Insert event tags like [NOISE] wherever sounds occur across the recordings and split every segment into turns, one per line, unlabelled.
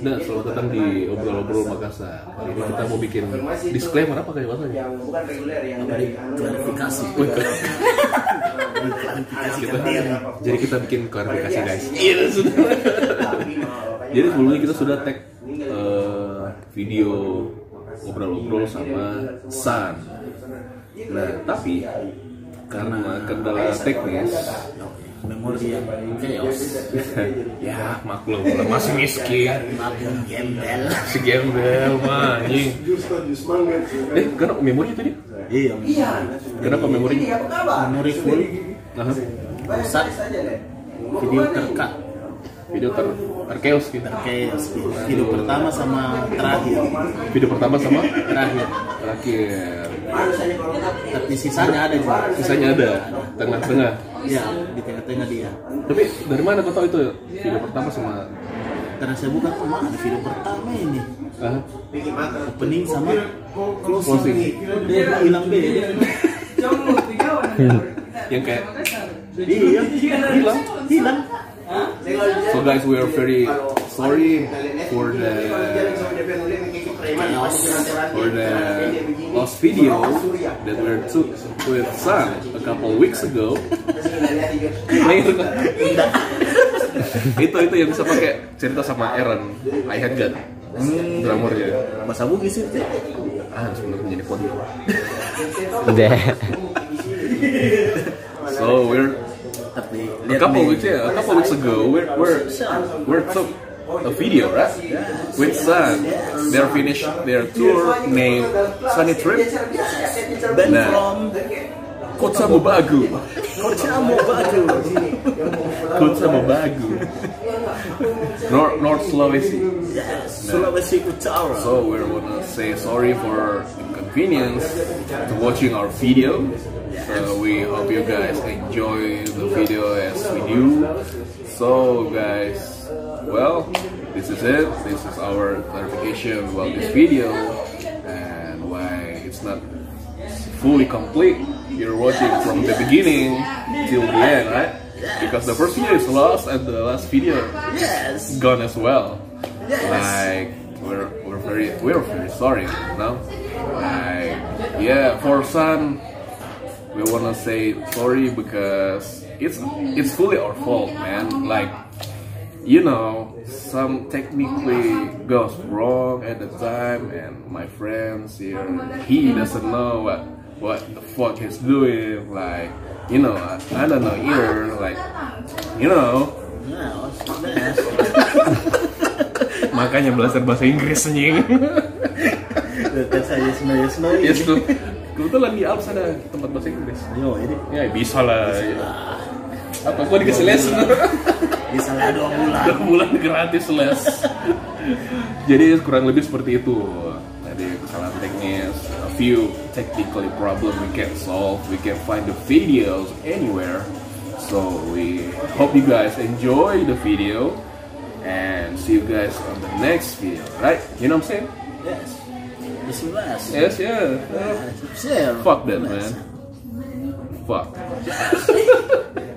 Nah, selamat datang di obrol-obrol Makassar. Hari ini kita mau bikin disclaimer apa kayak bahasanya?
yang bukan reguler yang dari anu,
klarifikasi.
dari-
Bukan.
[LAUGHS]
Anu,
Kita,
dari-
jadi kita bikin klarifikasi guys.
Iya, sudah. Tapi, eh, makanya
Jadi sebelumnya kita
malah
sudah
sana.
tag
Meninggal di
eh, video obrol-obrol
Iya,
sama San. Nah, tapi karena kendala teknis,
memori yang
Iya,
chaos
[LAUGHS] ya maklum lah masih miskin,
makin gembel
si gembel mah anjing.
Jus kan, jus mangga, jus kan.
Eh, kenapa memori tadi?
iya
Iya.
Kenapa memori?
Ini apa kabar?
memori full
Nah,
Bayar
Rusak.
saya saja deh. Mau
video
kemana nih?
terkat
video ter terkeos gitu.
chaos video pertama sama terakhir
Video pertama sama
terakhir
terakhir.
Harus saja kalau kita
tapi sisanya ada juga
Sisanya ada tengah-tengah.
ya di tengah-tengah dia
Tapi dari mana kau tahu itu video pertama sama
karena saya buka kemana ada video pertama ini
ah,
bikin makan.
opening sama
Closing.
closing dia hilang beda
yang kayak
iya hilang hilang
Saya kalau di-
So guys, we are very sorry for the for the lost video that we took with Sun a couple weeks ago. Later itu itu yang bisa pakai cerita sama Aaron I had gun drummernya
bahasa bugis itu
ah sebenarnya menjadi podium
Udah.
[LAUGHS] so we're
tapi
a
lihat
couple
nih.
weeks yeah a couple weeks ago we're we're we're took a video right with Sun they're finished their tour named Sunny Trip
band
Nah.
from
Kota Mobagu
Kocamu Batu
[LAUGHS] Kota [LAUGHS] Mobagu North North Sulawesi
Sulawesi Utara
So we wanna say sorry for inconvenience to watching our video. So we hope you guys enjoy the video as we do. So guys, well, this is it. This is our clarification about this video and why it's not fully complete. You're watching from the beginning till the end, right? Because the first video is lost and the last video
Yes.
gone as well.
Yes.
Like we're we're very we're very sorry, you know. Like yeah, for some we wanna say sorry because it's it's fully our fault, man. Like you know, some technically goes wrong at the time, and my friends here, he doesn't know what what the fuck he's doing. Like, you know, I, I don't know either. Like, you know,
Nah, sebenarnya
makanya belajar bahasa Inggris anjing.
Dekat saya sebenarnya sebenarnya.
yes tuh. Iya, Kebetulan di Alps ada tempat bahasa Inggris.
Yo, ini
Ya bisa lah. ya. Apa gua dikasih les?
bisa lah dua bulan.
Dua bulan gratis les. Jadi kurang lebih seperti itu. Tadi kesalahan teknis, a few technical problem we can solve, we can find the videos anywhere. So we hope you guys enjoy the video and see you guys on the next video, right? You know what I'm saying?
Yes. Bisa mas.
Yes, yeah. Uh,
Share.
Fuck that, man. Fuck.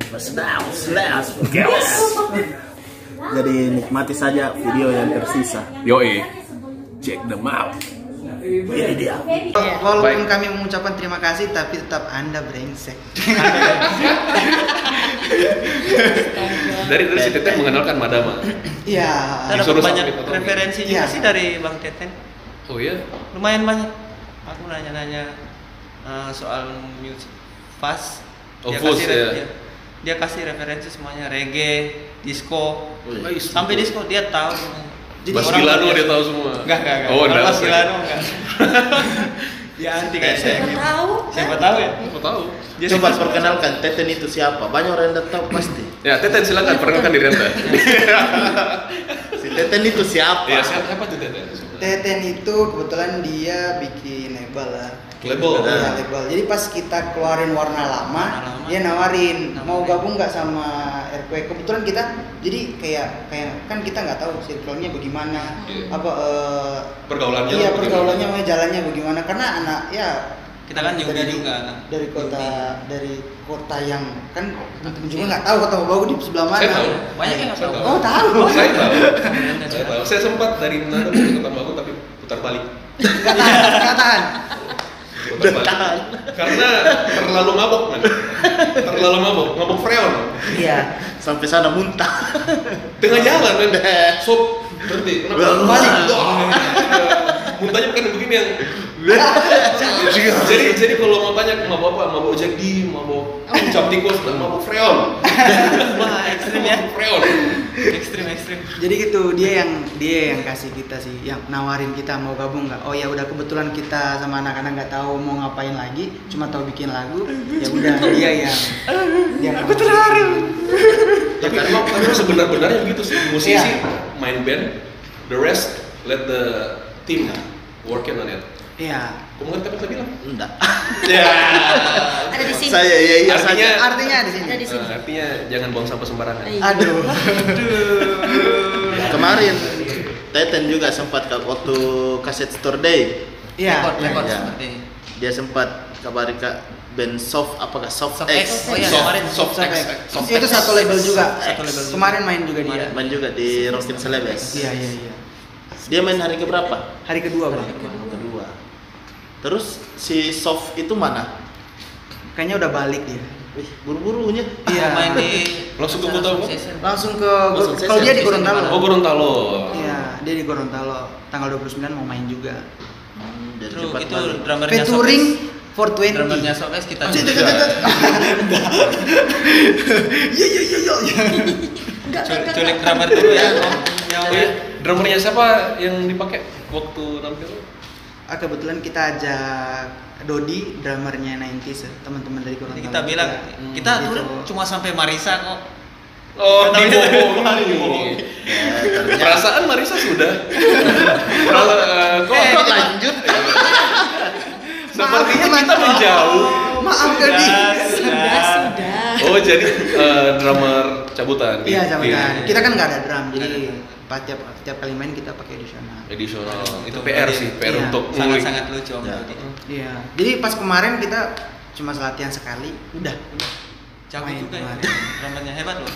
Mas now, slash. Yes. Jadi nikmati saja video yang tersisa.
Yoi, check them out.
Ini dia.
Baik.
Walaupun kami mengucapkan terima kasih, tapi tetap Anda brengsek.
[LAUGHS] Dari dari si Teteh mengenalkan Madama.
Iya.
Kita
Disuruh
dapat banyak
sampai potongin.
referensi juga
Iya.
sih dari Bang Teten.
Oh iya,
Lumayan banyak. Aku nanya-nanya eh, soal music fast.
Oh, fuzz,
re-
ya.
dia, dia kasih referensi semuanya reggae,
Oh,
disco,
Wih.
sampai disco dia tahu.
Bas iya.
orang
Gilano
biasa-
dia tahu semua.
Enggak, enggak, enggak.
Oh,
Orang
enggak.
Bas Gilano
[LAUGHS]
enggak. dia anti kayak saya.
tahu
Siapa tahu ya?
Aku tahu.
Dia
Coba
suka-
perkenalkan Teten itu siapa? Banyak orang yang tahu pasti.
Ya, Teten silakan perkenalkan diri Anda.
[LAUGHS] Si Teten itu siapa?
Iya,
Ya, siapa siapa tuh Teten?
Teten itu kebetulan dia bikin label lah.
Label. Ah.
Iya, label. Jadi pas kita keluarin warna lama,
Warna lama. ya?"
dia nawarin
Nawarin.
mau gabung nggak sama RW. Kebetulan kita jadi kayak kayak kan kita nggak tahu circle-nya bagaimana,
Iya.
apa eh,
Pergaulannya
Iya,
bagaimana?
pergaulannya mau jalannya bagaimana karena anak ya
kita kan
Kita
Yogi
dari,
juga kan.
dari kota
Yogi.
dari kota yang kan teman-teman juga nggak tahu kota Bogor di sebelah mana
Saya tahu.
banyak yang nggak tahu
oh tahu
Oh, [LAUGHS] saya tahu.
Keren,
Saya
kan?
tahu. Saya sempat dari Menado mau ke Tambangku tapi putar balik.
nggak tahan nggak tahan
Putar balik. Karena terlalu mabok, man. Terlalu mabok, mabok freon.
iya
Ya, sampai sana muntah
Tengah jalan, man. Sop, berhenti.
Belum balik.
Wah. Muntahnya bukan yang begini yang jadi jadi kalau mau tanya mau apa mau bawa jadi mau bawa
Oh.
cap tikus mau bawa freon
[LAUGHS] wah ekstrim ya
freon
ekstrim ekstrim
jadi gitu dia yang dia yang kasih kita sih yang nawarin kita mau gabung nggak oh ya udah kebetulan kita sama anak-anak nggak tahu mau ngapain lagi cuma tahu bikin lagu ya udah dia yang yang aku terharu
tapi emang tapi emang sebenar-benarnya begitu sih musisi main band the rest let the team working on it
iya
kamu ngerti apa yang saya bilang
enggak
ya
Ada di sini.
saya iya iya
Artinya- Nah,
saja
artinya di sini
Ada di sini.
artinya jangan buang sampah sembarangan
Iya.
aduh
kemarin Teten juga sempat ke waktu kaset store day
iya
Rekod, rekod
Iya.
seperti
dia sempat kabari kak band soft apakah soft,
Soft
X,
X.
Oh, iya,
soft
kemarin.
soft X
Sampai-
soft
itu
X.
satu label juga
Satu label juga.
kemarin main juga dia
Kemarin.
main juga di Rockin Celebes
iya iya iya
dia main hari keberapa
hari kedua bang
kedua terus si soft itu mana
kayaknya udah balik dia
Wih, buru-burunya
Iya.
Iya. main di
Langsung ke Kota Bogor.
Session.
langsung ke
Langsung
kalau
sesi.
dia di
Sesi
oh
Gorontalo
Gorontalo
iya dia di Gorontalo tanggal 29 mau main juga
Hmm, dari
Terus
cepat
itu
balik.
drummernya
featuring
Soft X.
420
drummernya Sofes kita
Cuk, cuk, cuk, cuk, cuk. Iya, iya, iya, iya.
Enggak,
Cul-
enggak,
culik
enggak.
drummer dulu
[LAUGHS]
ya Om.
Oh iya, drummernya siapa yang dipakai waktu nampil
Ah, kebetulan kita ajak Dodi drummernya 90s ya, teman-teman dari Gorontalo
Jadi kita bilang kita
Gitu.
turun cuma sampai Marisa kok
oh Iya.
Tahu
iya.
dia.
dibohongi
Eh, ternyata-
perasaan Marisa [LAUGHS] sudah Perasaan, eh, kok
Eh,
Kok lanjut
sepertinya kita menjauh
maaf Dodi
Sudah, sudah.
oh jadi eh, drummer cabutan
iya sama
Di-
kan kita kan nggak ada drum jadi
Nggak ada
pas tiap tiap kali main kita pakai additional
edisional itu
Itu
PR
tadi.
sih PR
Iya,
untuk ngulik.
sangat-sangat lucu Om
Ya.
Dodi.
iya jadi pas kemarin kita cuma latihan sekali udah
Jago
Main
juga ya.
kemarin.
drummernya hebat loh.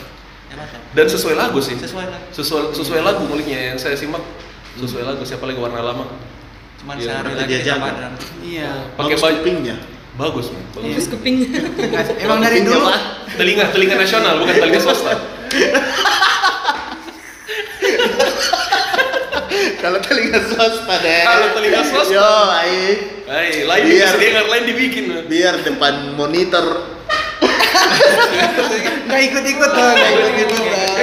Hebat loh.
dan sesuai lagu sih
Sesuai lah.
sesuai sesuai lagu nguliknya yang saya simak sesuai lagu siapa lagi warna lama
Cuman
Iya,
sehari
berarti
lagi
dia
kita
jago.
padram.
iya
Oh.
pakai
Bagus
baju
kupingnya.
bagus man bagus.
Terus kuping.
emang dari
Kupingnya,
dulu
Pak.
telinga telinga nasional bukan telinga swasta
Kalau telinga swasta deh.
Kalau telinga swasta.
Yo, aing.
Hai, lain
Iya.
disediakan, lain dibikin. man.
biar depan monitor.
nggak ikut-ikut loh nggak ikut-ikut loh.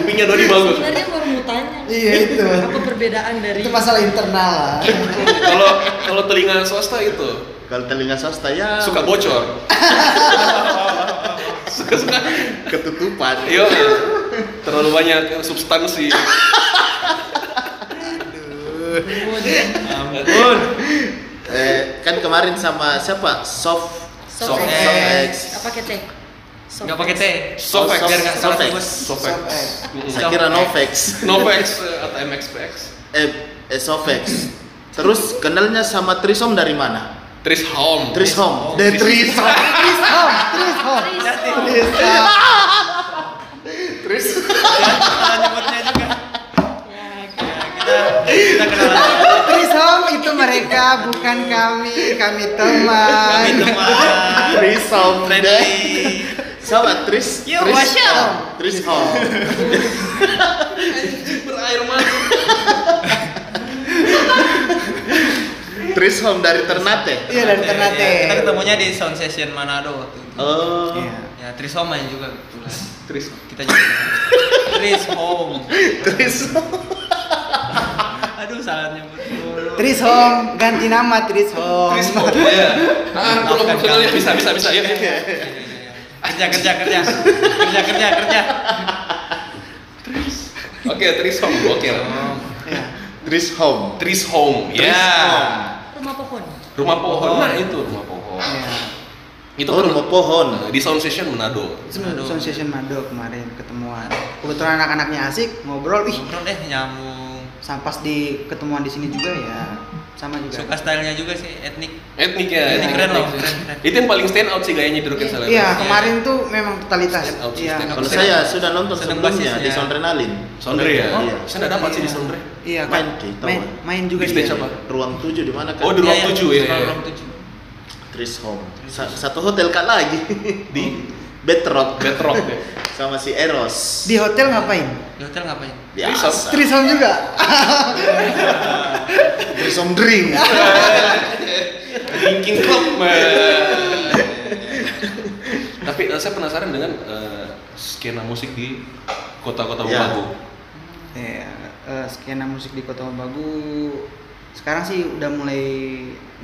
Kupingnya Dodi bagus.
Sebenarnya baru mau tanya.
iya itu
Apa perbedaan dari
itu masalah internal lah
Kalau kalau telinga swasta itu
Kalau telinga swasta ya
suka [LAUGHS] bocor. suka suka.
ketutupan.
Yo, terlalu banyak substansi. Ampun.
Eh, kan kemarin sama siapa? Soft
soft
Soft
X?
X.
Apa pakai T? Soft
Enggak pakai
X.
T.
Sofex.
Biar enggak salah
Sofex.
tebus.
Sofex.
Saya kira Novex.
Novex atau MXPX.
Eh, eh Sofex. Terus kenalnya sama Trisom dari mana?
Tris Home. Oh,
Trisom. The Trisom.
Salah nyebutnya juga.
Ya, kan.
Kita kita kenalan.
Trisom itu mereka bukan kami kami teman
Kami teman.
Trisom. deh.
Friendly.
Sama Tris.
Yo, what's
Trisom. Trisom.
Berair mata.
Trisom dari Ternate.
iya dari Ternate
Kita ketemunya di sound session Manado waktu itu.
Oh.
Iya.
Ya, Trisom main juga kebetulan.
Tris.
Kita juga. Tris Home.
Trisom.
Aduh, salah nyebut dulu.
Trisom ganti nama Trisom
Tris Home. Iya. Ah, kalau
Maafkan
profesionalnya
kami.
bisa bisa bisa ya.
kerja kerja kerja kerja kerja kerja
Oke, Tris Home. Oke.
Iya.
Trisom.
Tris Home. Ya.
Rumah pohon.
Rumah pohon. Nah, itu rumah pohon.
Iya.
Itu
Oh,
kan
rumah pohon.
di sound session Manado.
Mado.
Sound Session Mado kemarin ketemuan. Kebetulan anak-anaknya asik ngobrol, ih
ngobrol deh nyambung
sampas di ketemuan di sini juga ya. sama juga
suka stylenya juga sih etnik
Etniknya,
Iya,
etnik
keren
etnik.
loh, keren, keren.
Itu yang paling stand out sih gayanya Drunken Salad.
iya kemarin tuh memang totalitas
Stand out,
iya
stand out.
Kalau saya sudah nonton
Sedang
sebelumnya
basisnya.
di Sondrenalin.
Sondre ya?
Iya.
Saya nggak dapat sih di Sondre.
iya
Main
kan
di Taiwan.
main, main juga
Di stage
dia.
apa?
Ruang 7 di mana kan?
Oh, di ruang
Iya, iya,
tujuh ya.
suka
iya.
ruang tujuh.
Tris Home. Sa- satu hotel kan [LAUGHS] lagi
Di
Bedrock
Bedrock ya.
sama si Eros.
di hotel ngapain
di hotel ngapain
Biasa.
Trisom juga
Trisom [LAUGHS] drink.
Drinking club man. Tapi eh, saya penasaran dengan eh, skena musik di kota-kota
Iya.
Wabagu.
ya, eh, skena musik di Kota Wabagu sekarang sih udah mulai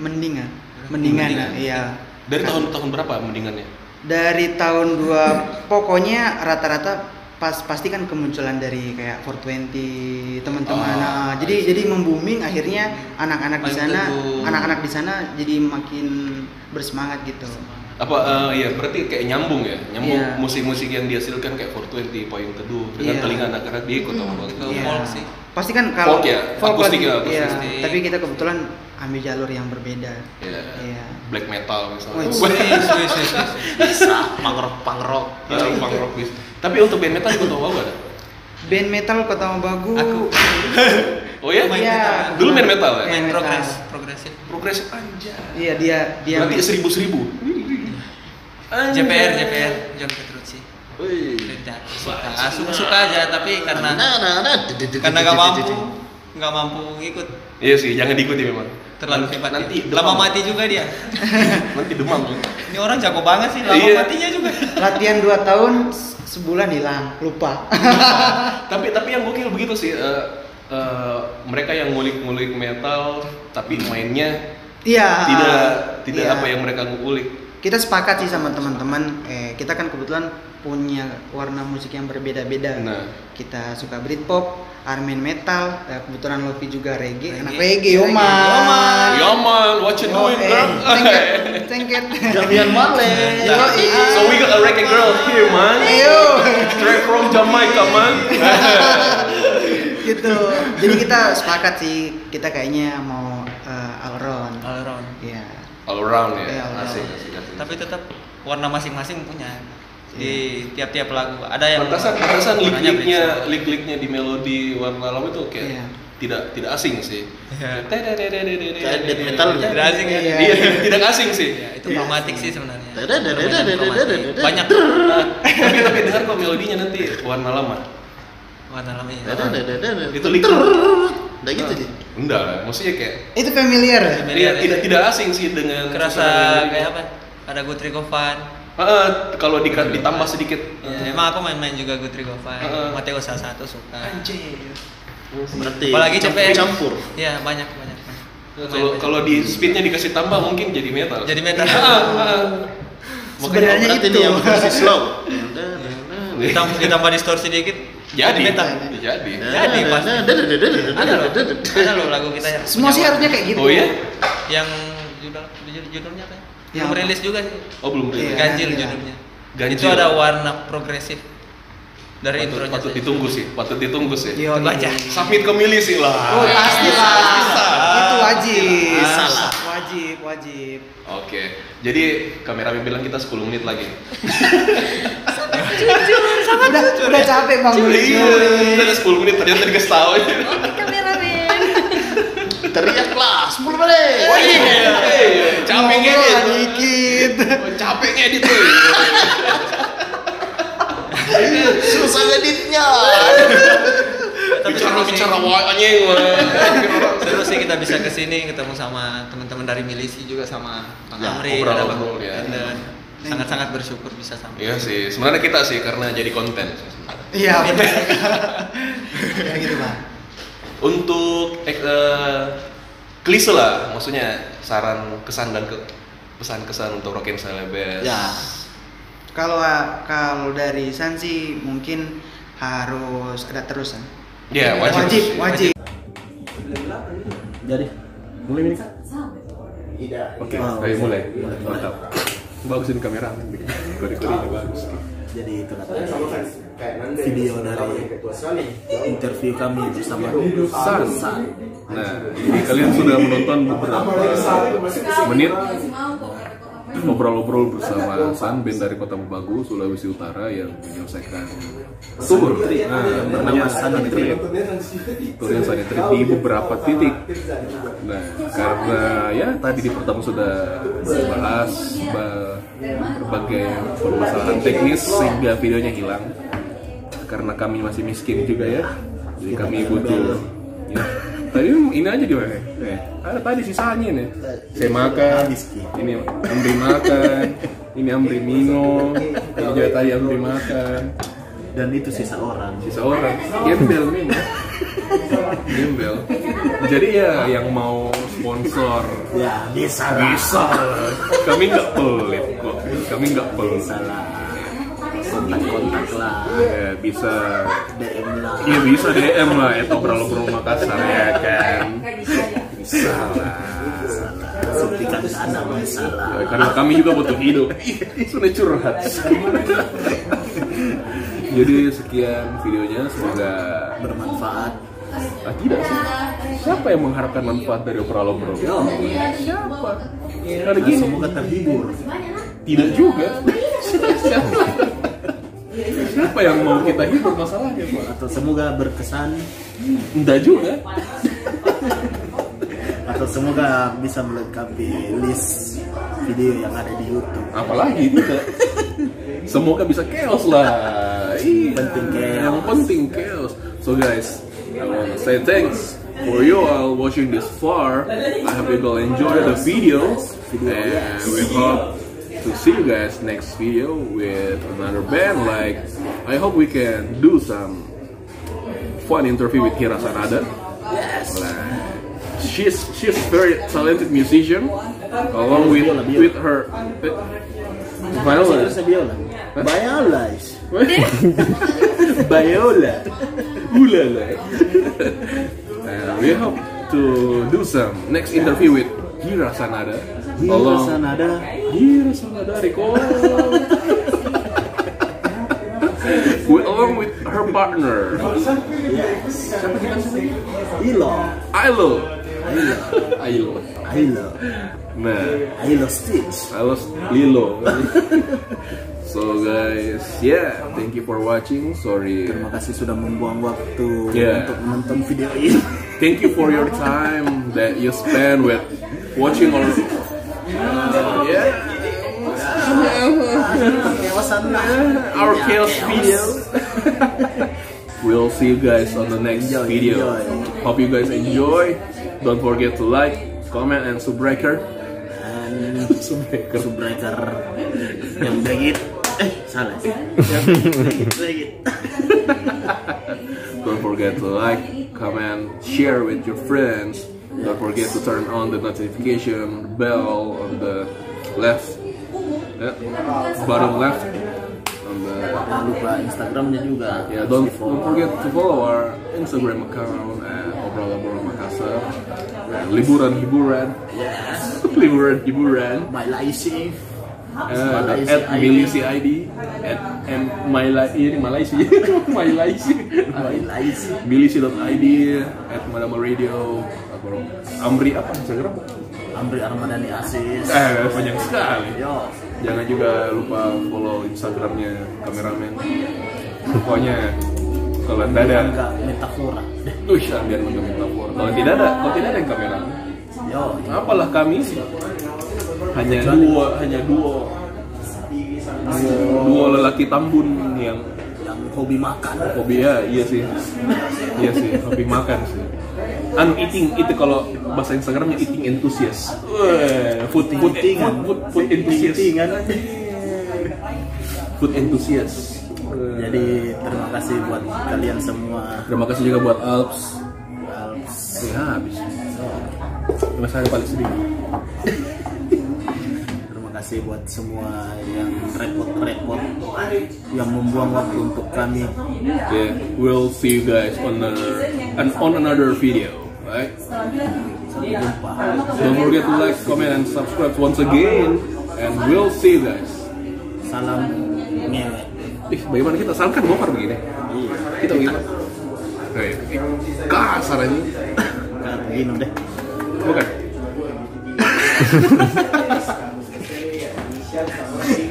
mending ya mendingan
Mendingan.
iya
Dari tahun-tahun berapa mendingannya?
dari tahun dua pokoknya rata-rata pas pasti kan kemunculan dari kayak 420 teman-teman
Oh,
Nah, jadi jadi membuming akhirnya anak-anak di
Paling
sana
teguh.
anak-anak di sana jadi makin bersemangat gitu
Apa eh, iya berarti kayak nyambung ya, nyambung
Iya.
musik-musik yang dihasilkan kayak 420, Payung Teduh dengan
Iya.
telinga anak-anak di kota
Ke
Wabagu.
Iya.
folk sih.
pasti kan kalau
Folk ya?
kan-
Akustik ya,
iya.
akustik.
tapi kita kebetulan ambil jalur yang berbeda
Iya.
Iya.
Black metal misalnya.
Wih, Iya.
Wah.
Wih, wih, wih, wih.
Bisa pangrok pangrok.
Eh, punk rock bis. Tapi untuk band metal di kota Wabagu ada?
band metal Kota Wabagu
Aku.
Oh ya?
Main
Iya.
metal.
Dulu main metal ya?
Main
main
metal.
progres progresif
Progresif anjay.
iya dia dia
Berarti seribu-seribu. Anjay.
JPR JPR John Petrucci
Wih.
Ledak. suka suka suka aja tapi karena
Nah, nah, nah.
karena nggak mampu nggak mampu ngikut
Iya sih, jangan diikuti memang.
terlalu
Nanti-
hebat
Nanti
dia.
demam.
lama mati juga dia
[LAUGHS] Nanti demam.
ini orang jago banget sih lama
Iya.
matinya juga
latihan 2 tahun se- sebulan hilang lupa
tapi tapi yang gokil begitu sih. eh, eh, mereka yang ngulik-ngulik metal tapi mainnya
iya
tidak tidak
iya.
apa yang mereka ngulik.
kita sepakat sih sama teman-teman eh kita kan kebetulan punya warna musik yang berbeda-beda
Nah.
kita suka Britpop Armin metal eh, kebetulan Lofi juga reggae,
Reggae.
anak reggae eh, Oma
Ya man, what you doing, bro? [LAUGHS]
cengket
Jamian Male.
[LAUGHS]
Nah,
iya.
So we got a reggae girl here, man.
Ayo.
Straight from Jamaica,
[LAUGHS]
man.
gitu jadi kita sepakat sih kita kayaknya mau eh, all around
all around
iya
All around ya,
Iya, all
asik,
around.
asik, asik.
tapi tetap warna masing-masing punya
Iya.
di tiap-tiap lagu ada yang
Pantasan, pantasan
warnanya
lik-liknya,
berbeda.
lik-liknya di melodi warna alam itu kayak
Iya.
tidak tidak asing sih.
Iya.
Kayak death metal ya.
tidak asing ya
Iya.
Iya, [LAUGHS] tidak asing sih.
Ya, itu
Iya.
romantik sih sebenarnya
Dadadadadadadadadada.
Permainan kromatik. banyak
tapi tapi dengar kok melodinya nanti warna lama.
warna lamanya
Itu
Itu
lik.
Udah gitu sih.
Enggak lah, maksudnya kayak
itu familiar ya?
Familiar
Iya,
ya.
tidak tidak asing sih dengan
kerasa
susunan melodi.
kayak apa ada Gutri Govan
Heeh, kalau di, ditambah sedikit.
Iya.
Ya, Iya. emang aku main-main juga Gutri Govan
Heeh.
Mateo salah satu suka
Berarti
apalagi CPR
campur.
iya banyak banyak banyak.
Kalau kalau di speednya dikasih tambah mungkin jadi metal.
jadi metal
Heeh, heeh.
Sebenarnya
Berarti
itu.
ini yang versi slow.
ditambah, ditambah distorsi dikit
jadi
metal
jadi.
Jadi, pasti. ada loh ada loh lagu kita yang
semua sih harusnya kayak gitu
Oh ya?
yang judul judul- judulnya apa ya?
Yang
yang
apa?
rilis juga sih
Oh belum
Iya.
rilis.
ganjil
iya.
judulnya
Ganjil.
itu ada warna progresif dari
Patut,
intronya
patut
saja.
ditunggu sih, patut ditunggu sih.
Yo,
Coba aja.
iya.
Submit ke milih sih
Oh
lah.
pasti lah, itu wajib.
Bisa lah.
Ah. Wajib, wajib.
Oke, jadi kameramen bilang kita 10 menit lagi.
udah, udah capek bang.
Iya, ada 10 menit ternyata dikasih tahu.
Oke kameramen.
Teriak lah, 10 menit.
Iya, iya, capek
Capek
ngedit.
dikit.
Oh, Capek ngedit tuh.
Susah editnya.
Tapi
Bicara
seru sih.
bicara wah anjing. wah.
seru sih kita bisa ke sini ketemu sama teman-teman dari milisi juga sama Bang
Ya,
Amri
ngobrol,
ada Bang
ngobrol, ya.
dan sangat-sangat bersyukur bisa sampai
Iya sih, sebenarnya kita sih karena jadi konten.
Iya
[LAUGHS]
benar. ya gitu bang.
Untuk eh, eh, klise lah, maksudnya saran kesan dan ke- pesan kesan untuk Rockin Celebes.
Ya.
Kalau kalau dari San sih mungkin harus ada terusan.
Ya, wajib.
Wajib,
sih.
wajib.
Jadi, mulai ini.
Oke, ayo mulai. Mantap. Bagusin kamera. Kode-kodenya bagus.
jadi itu
Soalnya
nanti
sama kan kayak Nanda ya,
Video
sama
dari-
kamu yang kayak gua. Soalnya nih,
interview kami bersama
San.
San.
Nah, jadi kalian sudah menonton beberapa menit ngobrol-ngobrol bersama San band dari Kota Mubagu, Sulawesi Utara yang menyelesaikan tour nah, yang bernama San Trip. Turnya San Trip di beberapa titik. Nah, karena ya tadi di pertama sudah bahas ba- berbagai permasalahan teknis sehingga videonya hilang. Karena kami masih miskin juga ya, jadi kami butuh. ya. Tadi ini aja gimana? Eh, ada tadi sisanya nih. Saya makan, ini Amri makan, ini Amri minum, ini juga tadi Amri makan.
Dan itu sisa orang.
Sisa orang, gembel nih. ya. Gembel. Jadi ya yang mau sponsor
Ya bisa lah.
bisa. Kami nggak pelit kok. Kami nggak pelit.
Bisa lah. Kontak-kontak lah.
Eh, bisa
DM lah.
Iya bisa DM lah, itu obrol-obrol Makassar ya kan Bisa lah
Seperti kan ada masalah.
Ya, karena kami juga butuh hidup Iya, sudah curhat jadi sekian videonya semoga
Bermanfaat.
ah, tidak sih siapa yang mengharapkan manfaat dari operal obrol siapa karena
Dan
gini
semoga terhibur.
tidak juga siapa siapa yang mau kita hidup masalahnya pak
Atau semoga berkesan.
tidak juga
Atau semoga bisa melengkapi list video yang ada di YouTube.
apalagi tidak semoga bisa chaos lah Iya,
Penting chaos.
yang penting chaos so guys I want to say thanks for you all watching this far I hope you all enjoy the video and we hope to see you guys next video with another band like I hope we can do some fun interview with Hira Sanada Like, She's she's very talented musician, along with with her eh, Viola.
Terus Biola. Biola.
[LAUGHS]
is-
Biola. Ulala. And we hope to do some next interview with Hira Sanada.
Gila
along-
sana ada.
Hira Sanada Rico. with, along with her partner,
Ilo.
Ailo. [LAUGHS] Ailo.
Ilo.
Nah,
Ilo Stitch.
I lost Lilo. [LAUGHS] so guys, yeah, thank you for watching. Sorry.
Terima kasih sudah membuang waktu
Yeah.
untuk menonton video ini.
Thank you for your time that you spend with watching our uh, yeah,
Kewasan lah.
our chaos video.
[LAUGHS]
we'll see you guys on the next
Enjoy,
video.
enjoy.
Hope you guys enjoy. Don't forget to like, comment, and subscriber.
Dan Subbreaker yang Brigit. Eh, salah. Brigit.
Don't forget to like, comment, share with your friends. Don't forget to turn on the notification bell on the left, yeah, bottom left. On the,
Jangan lupa Instagramnya juga.
yeah, don't, don't forget to follow our Instagram account at Obrolan Obrolan Makassar. And liburan hiburan, [LAUGHS]
Yes.
liburan hiburan.
My Laisi.
Uh, at Milisi ID, at M Malaysia, [LAUGHS] Malaysia, Malaysia.
My [LAUGHS] Laisi.
bilisi.id at Madama Radio atau Amri apa Instagram
Amri Armadani Asis.
eh panjang sekali
Yo.
jangan juga lupa follow Instagramnya kameramen pokoknya kalau anda ada
Enggak metafora.
tuh biar nggak metafor kalau tidak ada kalau tidak ada yang kameramen
Yo.
apalah kami sih hanya dua hanya dua dua lelaki tambun yang
Yang hobi makan.
hobi ya iya sih iya sih hobi makan sih anu eating itu kalau bahasa Instagramnya eating enthusiast Weh, food food
Eatingan.
food food, food enthusiast
Eatingan.
food enthusiast Weh.
Jadi terima kasih buat kalian semua.
terima kasih juga buat Alps
Alps.
ya habis Mas saya paling sedih
Terima kasih buat semua yang repot-repot yang membuang waktu untuk kami.
yeah we'll see you guys on another and on another video right
Sampai jumpa.
don't forget to like comment and subscribe once again and we'll see you guys
Salam ngewek.
ih bagaimana kita sekarang kan gopar begini kita bagaimana Eh, ih, kasar aja
Nah, begini deh.
bukan